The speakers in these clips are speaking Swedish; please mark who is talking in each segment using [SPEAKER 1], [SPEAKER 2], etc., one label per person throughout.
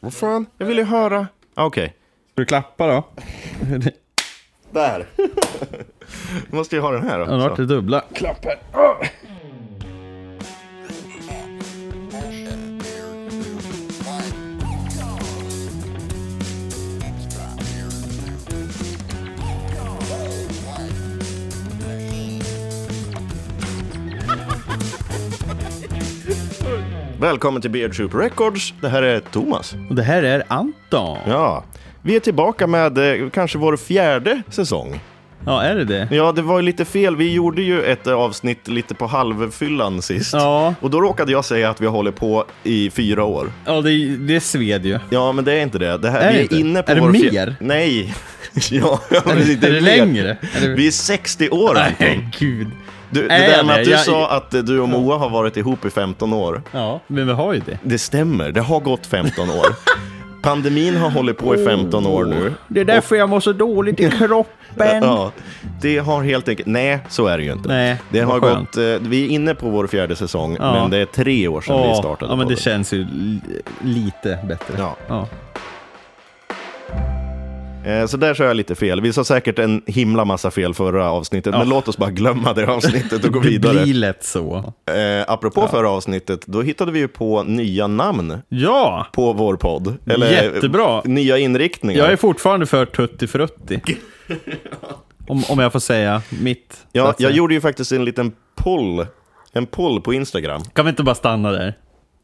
[SPEAKER 1] Vad fan, jag ville höra. Ah, Okej,
[SPEAKER 2] Ska du klappa då?
[SPEAKER 3] Där.
[SPEAKER 1] då måste jag ha den här
[SPEAKER 2] Ja, nu vart
[SPEAKER 1] också.
[SPEAKER 2] det dubbla.
[SPEAKER 1] Välkommen till Beard Troop Records. Det här är Thomas.
[SPEAKER 2] Och det här är Anton. Ja,
[SPEAKER 1] Ja, vi är tillbaka med eh, kanske vår fjärde säsong.
[SPEAKER 2] är det det?
[SPEAKER 1] Ja, det var ju lite fel. Vi gjorde ju ett eh, avsnitt lite på halvfyllan sist.
[SPEAKER 2] Ja,
[SPEAKER 1] Och då råkade jag säga att vi håller på i fyra år.
[SPEAKER 2] ja det, det sved ju.
[SPEAKER 1] Ja, men det är inte det. det här,
[SPEAKER 2] Är
[SPEAKER 1] vi
[SPEAKER 2] det
[SPEAKER 1] är
[SPEAKER 2] inte?
[SPEAKER 1] inne på
[SPEAKER 2] Är det
[SPEAKER 1] vår fjer-
[SPEAKER 2] mer?
[SPEAKER 1] Nej. ja, ja,
[SPEAKER 2] Är,
[SPEAKER 1] precis,
[SPEAKER 2] det, är det
[SPEAKER 1] mer.
[SPEAKER 2] längre? Är det...
[SPEAKER 1] Vi är 60 år, Anton.
[SPEAKER 2] Nej, gud.
[SPEAKER 1] Du, det
[SPEAKER 2] Nej,
[SPEAKER 1] där med
[SPEAKER 2] nej,
[SPEAKER 1] att du
[SPEAKER 2] jag-
[SPEAKER 1] sa att eh, du och Moa har varit ihop i 15 år.
[SPEAKER 2] Ja, men vi har ju det.
[SPEAKER 1] Det stämmer, det har gått 15 år. Pandemin har hållit på
[SPEAKER 2] Oh.
[SPEAKER 1] i 15 år nu.
[SPEAKER 2] Det är därför jag mår så dåligt i kroppen.
[SPEAKER 1] Ja, det har helt enkelt... Nej, så är det ju inte.
[SPEAKER 2] Nej,
[SPEAKER 1] det har
[SPEAKER 2] vad skönt.
[SPEAKER 1] gått... eh, Vi är inne på vår fjärde säsong,
[SPEAKER 2] Ja.
[SPEAKER 1] men det är tre år sedan vi
[SPEAKER 2] Ja,
[SPEAKER 1] startade
[SPEAKER 2] ja, men det
[SPEAKER 1] podden.
[SPEAKER 2] känns ju li- lite bättre.
[SPEAKER 1] Ja.
[SPEAKER 2] ja.
[SPEAKER 1] Eh, Så där sa jag lite fel. Vi sa säkert en himla massa fel förra avsnittet, men låt oss bara glömma det avsnittet och gå
[SPEAKER 2] Det
[SPEAKER 1] vidare.
[SPEAKER 2] blir lätt så.
[SPEAKER 1] Eh, apropå förra avsnittet, då hittade vi ju på nya namn
[SPEAKER 2] Ja,
[SPEAKER 1] på vår podd. Eller
[SPEAKER 2] Jättebra.
[SPEAKER 1] eh, nya inriktningar.
[SPEAKER 2] jag är fortfarande för tutti frutti. Om, om jag får säga mitt. så
[SPEAKER 1] Ja,
[SPEAKER 2] att
[SPEAKER 1] jag
[SPEAKER 2] säga.
[SPEAKER 1] gjorde ju faktiskt en liten poll. En poll på Instagram.
[SPEAKER 2] Kan vi inte bara stanna där?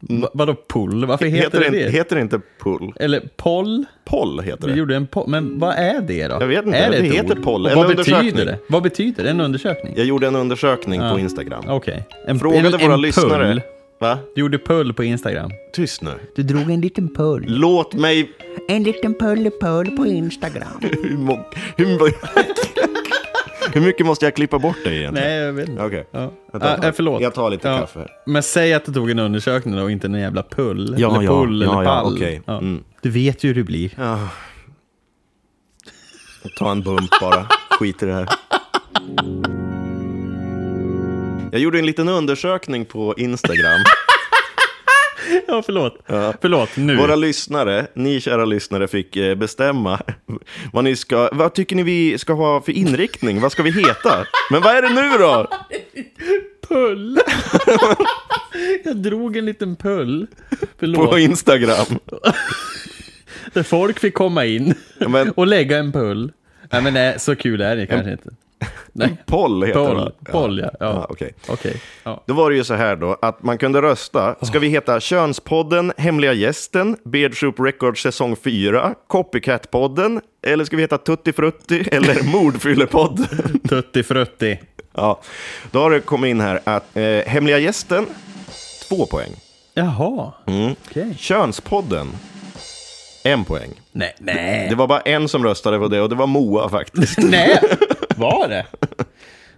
[SPEAKER 2] Va- vadå pull? Varför heter,
[SPEAKER 1] in-
[SPEAKER 2] det det?
[SPEAKER 1] Mm. Heter det inte poll?
[SPEAKER 2] Eller poll?
[SPEAKER 1] Poll heter
[SPEAKER 2] Vi
[SPEAKER 1] det.
[SPEAKER 2] gjorde en poll. Men vad är det då?
[SPEAKER 1] Jag vet inte,
[SPEAKER 2] Är
[SPEAKER 1] det
[SPEAKER 2] ett
[SPEAKER 1] heter
[SPEAKER 2] ord?
[SPEAKER 1] poll,
[SPEAKER 2] Och
[SPEAKER 1] en
[SPEAKER 2] Vad
[SPEAKER 1] undersökning.
[SPEAKER 2] betyder det? Vad betyder det? En undersökning?
[SPEAKER 1] Jag gjorde en undersökning på Instagram.
[SPEAKER 2] Okej. En,
[SPEAKER 1] Frågade
[SPEAKER 2] en,
[SPEAKER 1] våra
[SPEAKER 2] en
[SPEAKER 1] lyssnare.
[SPEAKER 2] Pull.
[SPEAKER 1] Va?
[SPEAKER 2] Du gjorde pull på Instagram.
[SPEAKER 1] Tyst nu.
[SPEAKER 4] Du drog en liten pull.
[SPEAKER 1] Låt mig...
[SPEAKER 4] En liten pull-pull på Instagram.
[SPEAKER 1] Hur, må... hur... må- hur mycket måste jag klippa bort dig egentligen?
[SPEAKER 2] Nej, jag vet inte.
[SPEAKER 1] Okej.
[SPEAKER 2] Ja.
[SPEAKER 1] Vänta.
[SPEAKER 2] Ah, eh, förlåt.
[SPEAKER 1] Jag tar lite
[SPEAKER 2] Ja.
[SPEAKER 1] kaffe.
[SPEAKER 2] Men säg att du tog en undersökning då, och inte en jävla pull.
[SPEAKER 1] Ja,
[SPEAKER 2] eller
[SPEAKER 1] ja.
[SPEAKER 2] pull
[SPEAKER 1] Ja,
[SPEAKER 2] eller
[SPEAKER 1] ja,
[SPEAKER 2] pall.
[SPEAKER 1] okej. Mm.
[SPEAKER 2] Du vet ju hur det blir.
[SPEAKER 1] Ta en bump bara. Skit i det här. Jag gjorde en liten undersökning på Instagram.
[SPEAKER 2] Ja, förlåt. Förlåt, nu.
[SPEAKER 1] Våra lyssnare, ni kära lyssnare, fick eh, bestämma vad, ni ska, vad tycker ni vi ska ha för inriktning? Vad ska vi heta? Men vad är det nu då?
[SPEAKER 2] Pull! jag drog en liten pull. Förlåt.
[SPEAKER 1] På Instagram.
[SPEAKER 2] Där folk fick komma in
[SPEAKER 1] Men-
[SPEAKER 2] och lägga en pull. Nej, men nej, så kul är det kanske inte. Nej.
[SPEAKER 1] Poll heter
[SPEAKER 2] Poll,
[SPEAKER 1] det.
[SPEAKER 2] poll ja.
[SPEAKER 1] Ja,
[SPEAKER 2] ja.
[SPEAKER 1] Ah, okej.
[SPEAKER 2] Okej, ja.
[SPEAKER 1] Då var det ju så här då, att man kunde rösta. Ska vi heta Könspodden, Hemliga Gästen, Beard Soup Records säsong 4, Copycat-podden, eller ska vi heta Tutti Frutti eller Mordfyllepodden?
[SPEAKER 2] Tutti frutti.
[SPEAKER 1] ja, då har det kommit in här att eh, Hemliga Gästen, två poäng.
[SPEAKER 2] Jaha.
[SPEAKER 1] Mm.
[SPEAKER 2] Okej.
[SPEAKER 1] Könspodden, en poäng.
[SPEAKER 2] Nej, nej.
[SPEAKER 1] Det var bara en som röstade på det och det var Moa faktiskt.
[SPEAKER 2] nej, var det?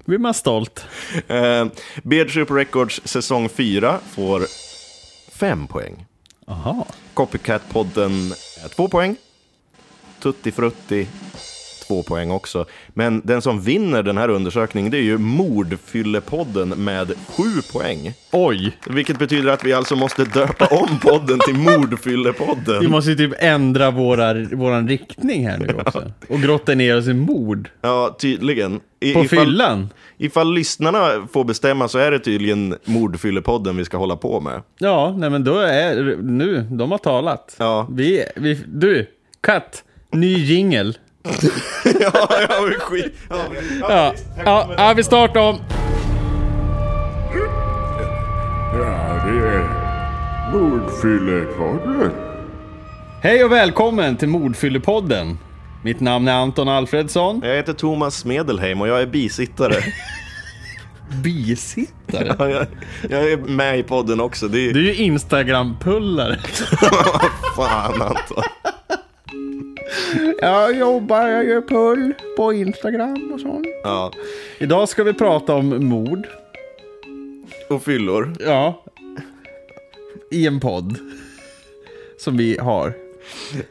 [SPEAKER 2] blir man stolt.
[SPEAKER 1] Eh, Beard Soup Records säsong 4 får fem poäng.
[SPEAKER 2] Jaha.
[SPEAKER 1] Copycat-podden eh, två poäng. Tutti Frutti två poäng också. Men den som vinner den här undersökningen det är ju Mordfyllepodden med sju poäng.
[SPEAKER 2] Oj.
[SPEAKER 1] Vilket betyder att vi alltså måste döpa om podden till
[SPEAKER 2] Vi
[SPEAKER 1] Mordfyllepodden.
[SPEAKER 2] måste ju typ ändra våra, våran riktning här nu också. Och grotta ner oss i mord.
[SPEAKER 1] Ja, tydligen. I,
[SPEAKER 2] På
[SPEAKER 1] ifall,
[SPEAKER 2] fyllan.
[SPEAKER 1] ifall lyssnarna får bestämma så är det tydligen Mordfyllepodden vi ska hålla på med.
[SPEAKER 2] Ja, nej men då är nu, de har talat.
[SPEAKER 1] Ja.
[SPEAKER 2] Vi, vi, du, katt, ny jingel.
[SPEAKER 1] ja, ja, men skit. Ja, men-
[SPEAKER 2] Ja, ja, ja, vi startar om.
[SPEAKER 5] Ja, det är Mordfyllepodden.
[SPEAKER 2] Hej och välkommen till Mordfyllepodden. Mitt namn är Anton Alfredsson.
[SPEAKER 1] Jag heter Thomas Medelheim och jag är bisittare.
[SPEAKER 2] Bisittare?
[SPEAKER 1] Ja, jag, jag är med i podden också. Det är
[SPEAKER 2] Du är ju Instagram-pullare.
[SPEAKER 1] fan Anton.
[SPEAKER 2] Jag jobbar, jag gör pull på Instagram och sånt.
[SPEAKER 1] Ja.
[SPEAKER 2] Idag ska vi prata om mord.
[SPEAKER 1] Och fyllor.
[SPEAKER 2] Ja. I en podd. Som vi har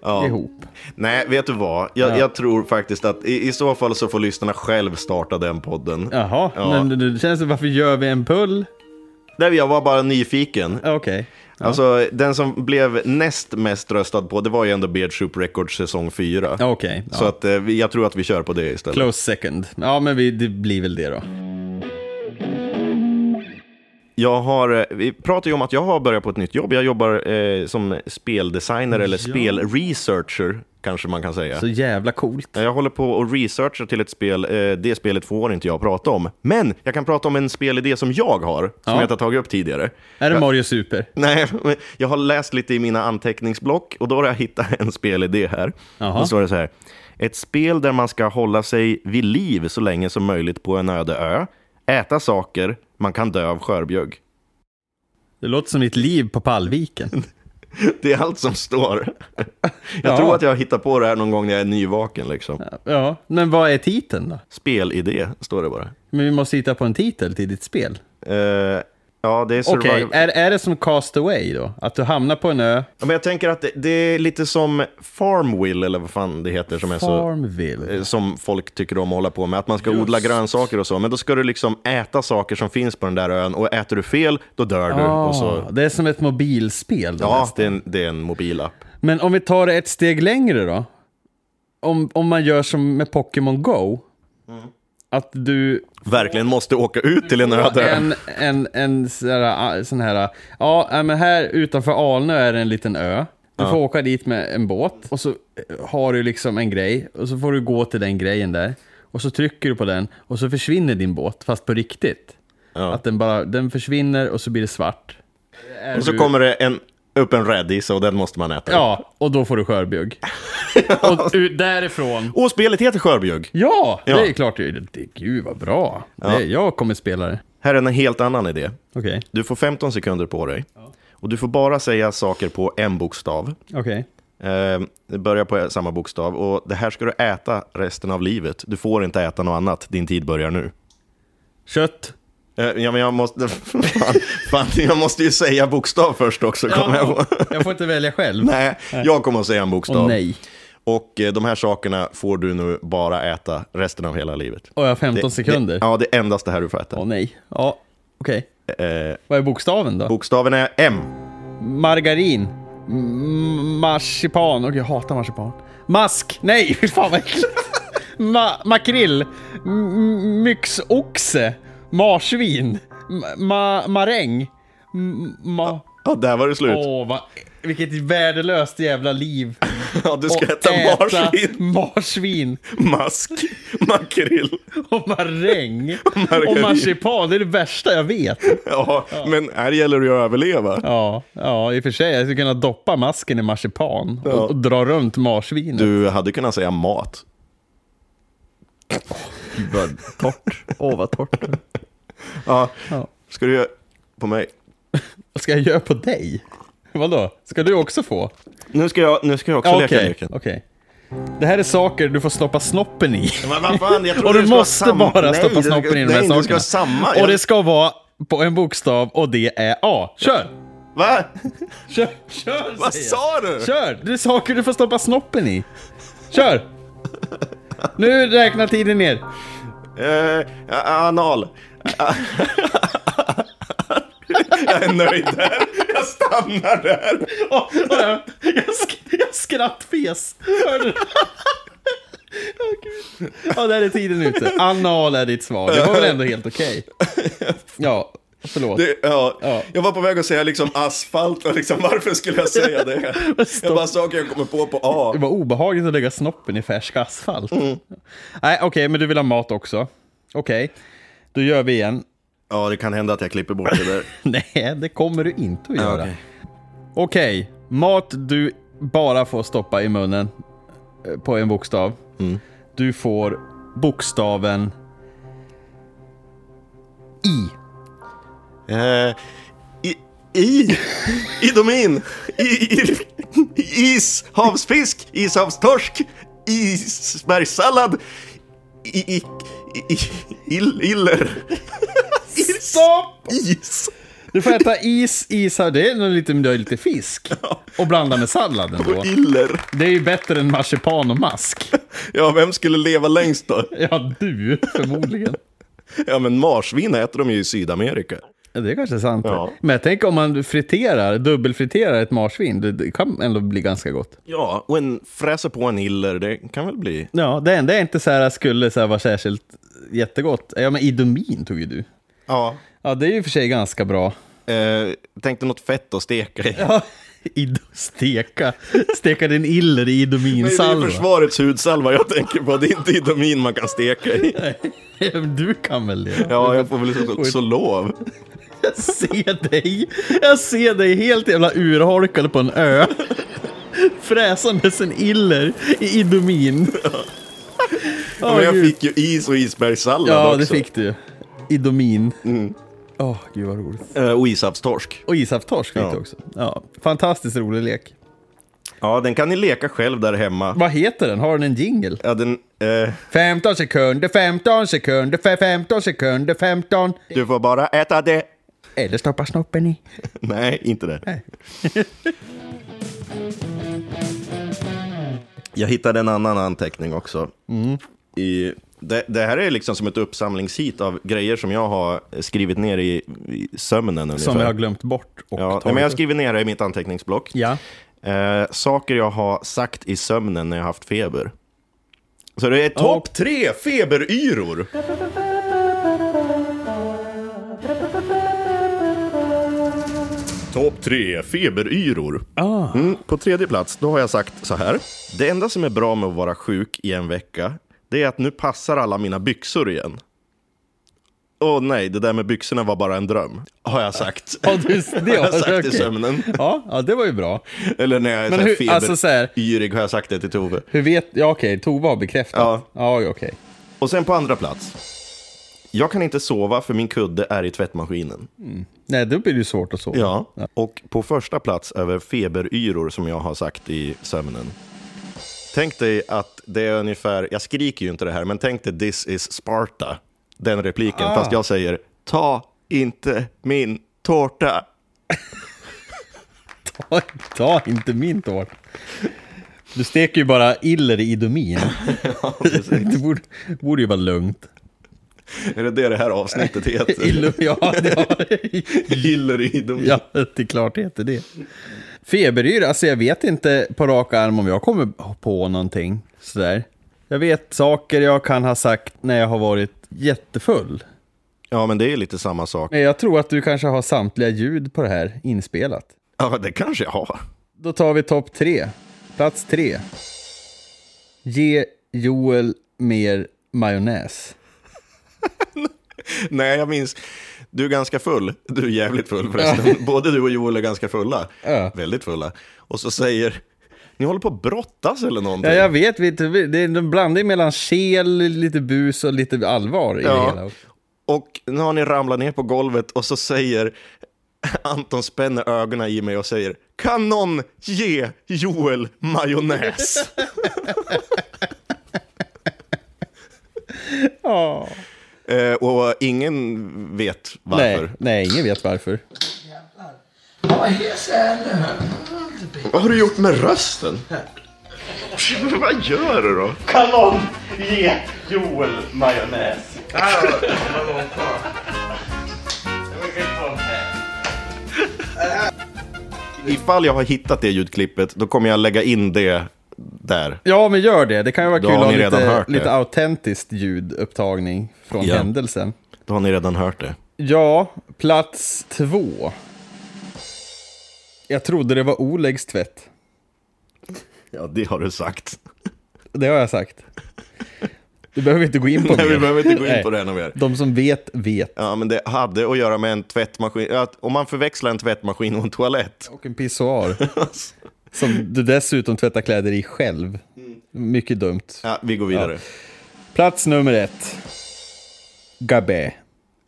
[SPEAKER 1] Ja.
[SPEAKER 2] ihop.
[SPEAKER 1] Nej, vet du vad? Jag,
[SPEAKER 2] Ja.
[SPEAKER 1] jag tror faktiskt att i, i så fall så får lyssnarna själv starta den podden.
[SPEAKER 2] Jaha,
[SPEAKER 1] Ja.
[SPEAKER 2] men det- det känns det, varför gör vi en pull?
[SPEAKER 1] Nej, jag var bara nyfiken.
[SPEAKER 2] Okej.
[SPEAKER 1] Alltså, den som blev näst mest röstad på, det var ju ändå Beard Soup Records säsong 4.
[SPEAKER 2] Ja, Okej,
[SPEAKER 1] Så
[SPEAKER 2] ja.
[SPEAKER 1] att, eh, vi- jag tror att vi kör på det istället.
[SPEAKER 2] close second. Ja, men vi, det blir väl det då.
[SPEAKER 1] Jag har, eh, vi pratar ju om att jag har börjat på ett nytt jobb. Jag jobbar eh, som speldesigner eller spelresearcher, kanske man kan säga.
[SPEAKER 2] Så jävla coolt.
[SPEAKER 1] Jag håller på och researchar till ett spel. Eh, Det spelet får inte jag prata om. Men jag kan prata om en spelidé som jag har, som
[SPEAKER 2] Ja.
[SPEAKER 1] jag inte har tagit upp tidigare.
[SPEAKER 2] Är det Mario Super?
[SPEAKER 1] Nej, men jag har läst lite i mina anteckningsblock och då har jag hittat en spelidé här.
[SPEAKER 2] Jaha.
[SPEAKER 1] Då står det så här. Ett spel där man ska hålla sig vid liv så länge som möjligt på en öde ö, äta saker, man kan dö av skörbjugg.
[SPEAKER 2] Det låter som mitt liv på Pallviken.
[SPEAKER 1] Det är allt som står. Jag
[SPEAKER 2] Ja.
[SPEAKER 1] tror att jag hittar på det här någon gång när jag är nyvaken. Liksom.
[SPEAKER 2] Ja, men vad är titeln då?
[SPEAKER 1] Spelidé, står det bara.
[SPEAKER 2] Men vi måste hitta på en titel till ditt spel.
[SPEAKER 1] Eh, ja, det är
[SPEAKER 2] Okej,
[SPEAKER 1] survival.
[SPEAKER 2] är, är det som Castaway då? Att du hamnar på en ö,
[SPEAKER 1] Ja, Men jag tänker att det, det är lite som Farmville, eller vad fan det heter, som är så...
[SPEAKER 2] Farmville?
[SPEAKER 1] Alltså, eh, som folk tycker om att hålla på med, att man ska odla grönsaker och så, men då ska du liksom äta saker som finns på den där ön och äter du fel, då dör du. Och så,
[SPEAKER 2] Ah, det är som ett mobilspel. Då
[SPEAKER 1] ja,
[SPEAKER 2] nästan.
[SPEAKER 1] det är, en, det är en mobilapp.
[SPEAKER 2] Men om vi tar det ett steg längre då? Om, om man gör som med Pokémon Go,
[SPEAKER 1] Mm.
[SPEAKER 2] att du
[SPEAKER 1] Verkligen måste åka ut till en öde ö.
[SPEAKER 2] en, en, en sån här, sån här ja, äh, men här utanför Alnö är det en liten ö. Du får åka dit med en båt och så eh, har du liksom en grej och så får du gå till den grejen där och så trycker du på den och så försvinner din båt, fast på riktigt. Att den bara, den försvinner och så blir det svart. Är
[SPEAKER 1] Och så
[SPEAKER 2] du-
[SPEAKER 1] kommer det en, upp en rädisa och den måste man äta.
[SPEAKER 2] Ja, och då får du skörbjugg. och ut därifrån.
[SPEAKER 1] Och spelet heter skörbjugg.
[SPEAKER 2] Ja, det
[SPEAKER 1] Ja.
[SPEAKER 2] är klart. det är- det- Gud vad bra. Det, jag kommer spela det.
[SPEAKER 1] Här är en helt annan idé.
[SPEAKER 2] Okej.
[SPEAKER 1] Du får 15 sekunder på dig. Och du får bara säga saker på en bokstav.
[SPEAKER 2] Okej.
[SPEAKER 1] Eh, det börjar på samma bokstav. Och det här ska du äta resten av livet. Du får inte äta något annat. Din tid börjar nu.
[SPEAKER 2] Kött.
[SPEAKER 1] Eh, Ja, men jag måste... Fan, fan, jag måste ju säga bokstav först också, kommer jag på.
[SPEAKER 2] Jag får inte välja själv.
[SPEAKER 1] Nej, jag kommer att säga en bokstav.
[SPEAKER 2] Och nej.
[SPEAKER 1] Och eh, de här sakerna får du nu bara äta resten av hela livet.
[SPEAKER 2] Och jag har 15
[SPEAKER 1] Det,
[SPEAKER 2] sekunder.
[SPEAKER 1] ja, det är endast det här du får
[SPEAKER 2] Åh
[SPEAKER 1] äta.
[SPEAKER 2] nej. Ja, okej.
[SPEAKER 1] Eh,
[SPEAKER 2] Vad är bokstaven då?
[SPEAKER 1] bokstaven är M.
[SPEAKER 2] Margarin. M- marsipan. Okej, jag hatar marsipan. Mask. Nej, fy fan vad äckligt. Ma- makrill. M- myxoxe. Marsvin. M- Ma- maräng. M- ma...
[SPEAKER 1] Ja, där var det slut.
[SPEAKER 2] Åh, vad... vilket värdelöst jävla liv.
[SPEAKER 1] Ja, du ska
[SPEAKER 2] Och
[SPEAKER 1] äta marsvin,
[SPEAKER 2] marsvin
[SPEAKER 1] mask, makrill.
[SPEAKER 2] och maräng och
[SPEAKER 1] Margarin.
[SPEAKER 2] marsipan. Det är det värsta jag vet.
[SPEAKER 1] Ja, men här gäller det ju att överleva.
[SPEAKER 2] Ja, ja, i och för sig. Jag skulle kunna doppa masken i marsipan och, och dra runt marsvinet.
[SPEAKER 1] Du hade kunnat säga mat.
[SPEAKER 2] Vad torrt. Åh, vad torrt.
[SPEAKER 1] Ja.
[SPEAKER 2] Ja.
[SPEAKER 1] Ska du göra på mig?
[SPEAKER 2] Vad ska jag göra på dig? Vadå? Ska du också få?
[SPEAKER 1] Nu ska jag, nu ska jag också
[SPEAKER 2] Ja,
[SPEAKER 1] leka
[SPEAKER 2] Okej.
[SPEAKER 1] leken.
[SPEAKER 2] okej. Det här är saker du får stoppa snoppen i.
[SPEAKER 1] Men vad fan, jag tror
[SPEAKER 2] Och du
[SPEAKER 1] det ska
[SPEAKER 2] måste
[SPEAKER 1] vara sam-
[SPEAKER 2] bara
[SPEAKER 1] Nej,
[SPEAKER 2] stoppa
[SPEAKER 1] det ska-
[SPEAKER 2] snoppen i de här
[SPEAKER 1] nej,
[SPEAKER 2] sakerna.
[SPEAKER 1] det ska vara samma.
[SPEAKER 2] Och
[SPEAKER 1] Jag-
[SPEAKER 2] det ska vara på en bokstav och det är A. Kör!
[SPEAKER 1] Va?
[SPEAKER 2] Kör, kör
[SPEAKER 1] Vad
[SPEAKER 2] säger jag.
[SPEAKER 1] sa du?
[SPEAKER 2] Kör! Det är saker du får stoppa snoppen i. Kör! Nu räknar tiden ner.
[SPEAKER 1] Eh, anal. jag är nöjd där. Jag stannar där.
[SPEAKER 2] Åh, åh, jag, jag, sk- jag skrattfes. Hörde du? Åh, Gud. Ja, där är tiden ute. Anal är ditt svar. Det var väl ändå helt okej? Ja, förlåt.
[SPEAKER 1] Det, ja,
[SPEAKER 2] Ja.
[SPEAKER 1] Jag var på väg att säga liksom asfalt och liksom varför skulle jag säga det? Jag bara saker jag kommer på på A.
[SPEAKER 2] Det var obehagligt att lägga snoppen i färsk asfalt. Nej, okej, men du vill ha mat också. Okej, då gör vi igen.
[SPEAKER 1] Ja, det kan hända att jag klipper bort det där.
[SPEAKER 2] Nej, det kommer du inte att göra.
[SPEAKER 1] okej.
[SPEAKER 2] Okej, mat du bara får stoppa i munnen eh, på en bokstav. Du får bokstaven I.
[SPEAKER 1] Eh, I... I... Idomin! I, i, is... Havsfisk! Ishavstorsk! Isbergssallad! I... i, i ill, iller... Is...
[SPEAKER 2] Stopp!
[SPEAKER 1] Is!
[SPEAKER 2] Du får äta is, is här, det är nog lite, det är lite fisk. Och blanda med salladen då.
[SPEAKER 1] Iller.
[SPEAKER 2] Det är ju bättre än marsipan och mask.
[SPEAKER 1] Ja, vem skulle leva längst då?
[SPEAKER 2] Ja, du förmodligen.
[SPEAKER 1] Ja, men marsvin äter de ju i Sydamerika.
[SPEAKER 2] Ja, det är kanske är sant.
[SPEAKER 1] Ja.
[SPEAKER 2] Men jag tänker om man friterar, dubbelfriterar ett marsvin, det, det kan ändå bli ganska gott.
[SPEAKER 1] Ja, och en fräser på en iller, det kan väl bli...
[SPEAKER 2] Ja, det enda jag inte så här skulle så här vara särskilt jättegott, ja men idomin tog ju du.
[SPEAKER 1] Ja.
[SPEAKER 2] Ja, det är ju i och för sig ganska bra.
[SPEAKER 1] Eh, tänkte något fett att steka i.
[SPEAKER 2] Ja, Ido, steka. Steka din iller
[SPEAKER 1] Nej,
[SPEAKER 2] i
[SPEAKER 1] det är ju
[SPEAKER 2] idominsalva.
[SPEAKER 1] försvarets hudsalva jag tänker på, det är inte idomin man kan steka i.
[SPEAKER 2] Du kan väl det?
[SPEAKER 1] Ja, jag får väl liksom så, så lov.
[SPEAKER 2] Jag ser dig, jag ser dig helt jävla urholkad på en ö. Fräsandes en iller i idomin.
[SPEAKER 1] Ja, men jag fick ju is och isbergssallad
[SPEAKER 2] Ja,
[SPEAKER 1] också. Mm.
[SPEAKER 2] det fick du ju. Idomin. Åh, gud vad roligt.
[SPEAKER 1] Eh, Och ishavstorsk.
[SPEAKER 2] Och ishavstorsk fick
[SPEAKER 1] Ja.
[SPEAKER 2] du också. Ja, fantastiskt rolig lek.
[SPEAKER 1] Ja, den kan ni leka själv där hemma.
[SPEAKER 2] Vad heter den? Har den en jingle?
[SPEAKER 1] Ja, den, eh,
[SPEAKER 2] 15 sekunder, 15 sekunder, fe- 15 sekunder, 15.
[SPEAKER 1] du får bara äta det.
[SPEAKER 2] Eller stoppa snoppen i.
[SPEAKER 1] Nej, inte det. jag hittade en annan anteckning också.
[SPEAKER 2] Mm.
[SPEAKER 1] I, det, det här är liksom som ett uppsamlingshit av grejer som jag har skrivit ner i, i sömnen ungefär.
[SPEAKER 2] Som jag har glömt bort och
[SPEAKER 1] ja,
[SPEAKER 2] tagit.
[SPEAKER 1] nej, men jag skriver ner det i mitt anteckningsblock.
[SPEAKER 2] ja.
[SPEAKER 1] Eh, saker jag har sagt i sömnen när jag haft feber. Så det är topp tre feberyror. Topp tre feberyror.
[SPEAKER 2] Ah.
[SPEAKER 1] Mm, på tredje plats, då har jag sagt så här. Det enda som är bra med att vara sjuk i en vecka, det är att nu passar alla mina byxor igen. Åh nej, det där med byxorna var bara en dröm. Har jag sagt.
[SPEAKER 2] Ja, du, det
[SPEAKER 1] har jag
[SPEAKER 2] har
[SPEAKER 1] sagt i
[SPEAKER 2] okej.
[SPEAKER 1] sömnen.
[SPEAKER 2] Ja, ja, det var ju bra.
[SPEAKER 1] Eller när jag är
[SPEAKER 2] Men
[SPEAKER 1] så här
[SPEAKER 2] hur-
[SPEAKER 1] feber,
[SPEAKER 2] alltså så här-
[SPEAKER 1] yrig har jag sagt det till Tove.
[SPEAKER 2] Hur vet... Ja, okej, Tova har bekräftat.
[SPEAKER 1] Ja.
[SPEAKER 2] ja okej.
[SPEAKER 1] Och sen på andra plats. Jag kan inte sova för min kudde är i tvättmaskinen.
[SPEAKER 2] Nej, då blir det ju svårt att sova.
[SPEAKER 1] Ja. Och på första plats över feberyror som jag har sagt i sömnen. Tänk dig att det är ungefär, jag skriker ju inte det här, men tänk dig this is Sparta. Den repliken, fast jag säger ta inte min tårta.
[SPEAKER 2] Ta, ta inte min tår. Du steker ju bara iller i idomin. det borde, borde ju vara lugnt.
[SPEAKER 1] Är det det det här avsnittet heter?
[SPEAKER 2] Iller, ja, det har,
[SPEAKER 1] Gillar i dem.
[SPEAKER 2] ja, det är klart det heter det. Feberyra, alltså jag vet inte på rak arm om jag kommer på någonting sådär. Jag vet saker jag kan ha sagt när jag har varit jättefull.
[SPEAKER 1] ja, men det är lite samma sak.
[SPEAKER 2] Men jag tror att du kanske har samtliga ljud på det här inspelat.
[SPEAKER 1] Ja, det kanske jag har.
[SPEAKER 2] Då tar vi topp tre. Plats tre. Ge Joel mer majonnäs.
[SPEAKER 1] Nej, jag minns. Du är ganska full. Du är jävligt full förresten. Både du och Joel är ganska fulla.
[SPEAKER 2] Ja.
[SPEAKER 1] Väldigt fulla. Och så säger, ni håller på att brottas eller någonting.
[SPEAKER 2] Ja, jag vet. vet du, det är en blandning mellan kel, lite bus och lite allvar i
[SPEAKER 1] Ja.
[SPEAKER 2] det hela.
[SPEAKER 1] Och nu har ni ramlat ner på golvet och så säger Anton spänner ögonen i mig och säger, kan någon ge Joel majonnäs?
[SPEAKER 2] Ja.
[SPEAKER 1] eh, och ingen vet varför.
[SPEAKER 2] Nej, nej, ingen vet varför.
[SPEAKER 6] Vad hes jag är nu?
[SPEAKER 1] Vad har du gjort med rösten? Vad gör du då?
[SPEAKER 7] Kan någon ge Joel majonnäs?
[SPEAKER 1] Ifall jag har hittat det ljudklippet, då kommer jag lägga in det där.
[SPEAKER 2] Ja, men gör det. Det kan ju vara
[SPEAKER 1] Då
[SPEAKER 2] kul
[SPEAKER 1] har
[SPEAKER 2] att ha
[SPEAKER 1] ni redan
[SPEAKER 2] lite,
[SPEAKER 1] hört det.
[SPEAKER 2] lite autentiskt ljudupptagning från
[SPEAKER 1] Ja.
[SPEAKER 2] händelsen.
[SPEAKER 1] Då har ni redan hört det.
[SPEAKER 2] Ja, plats två. Jag trodde det var Olegs tvätt.
[SPEAKER 1] Ja, det har du sagt.
[SPEAKER 2] Det har jag sagt. Du behöver inte gå in på
[SPEAKER 1] Nej, vi
[SPEAKER 2] mer.
[SPEAKER 1] behöver inte gå in
[SPEAKER 2] Nej.
[SPEAKER 1] på det här något mer.
[SPEAKER 2] De som vet, vet.
[SPEAKER 1] Ja, men det hade att göra med en tvättmaskin. Att om man förväxlar en tvättmaskin och en toalett.
[SPEAKER 2] Och en pissoar. som du dessutom tvättar kläder i själv. Mycket dumt.
[SPEAKER 1] Ja, vi går vidare.
[SPEAKER 2] Plats nummer ett. Gabé.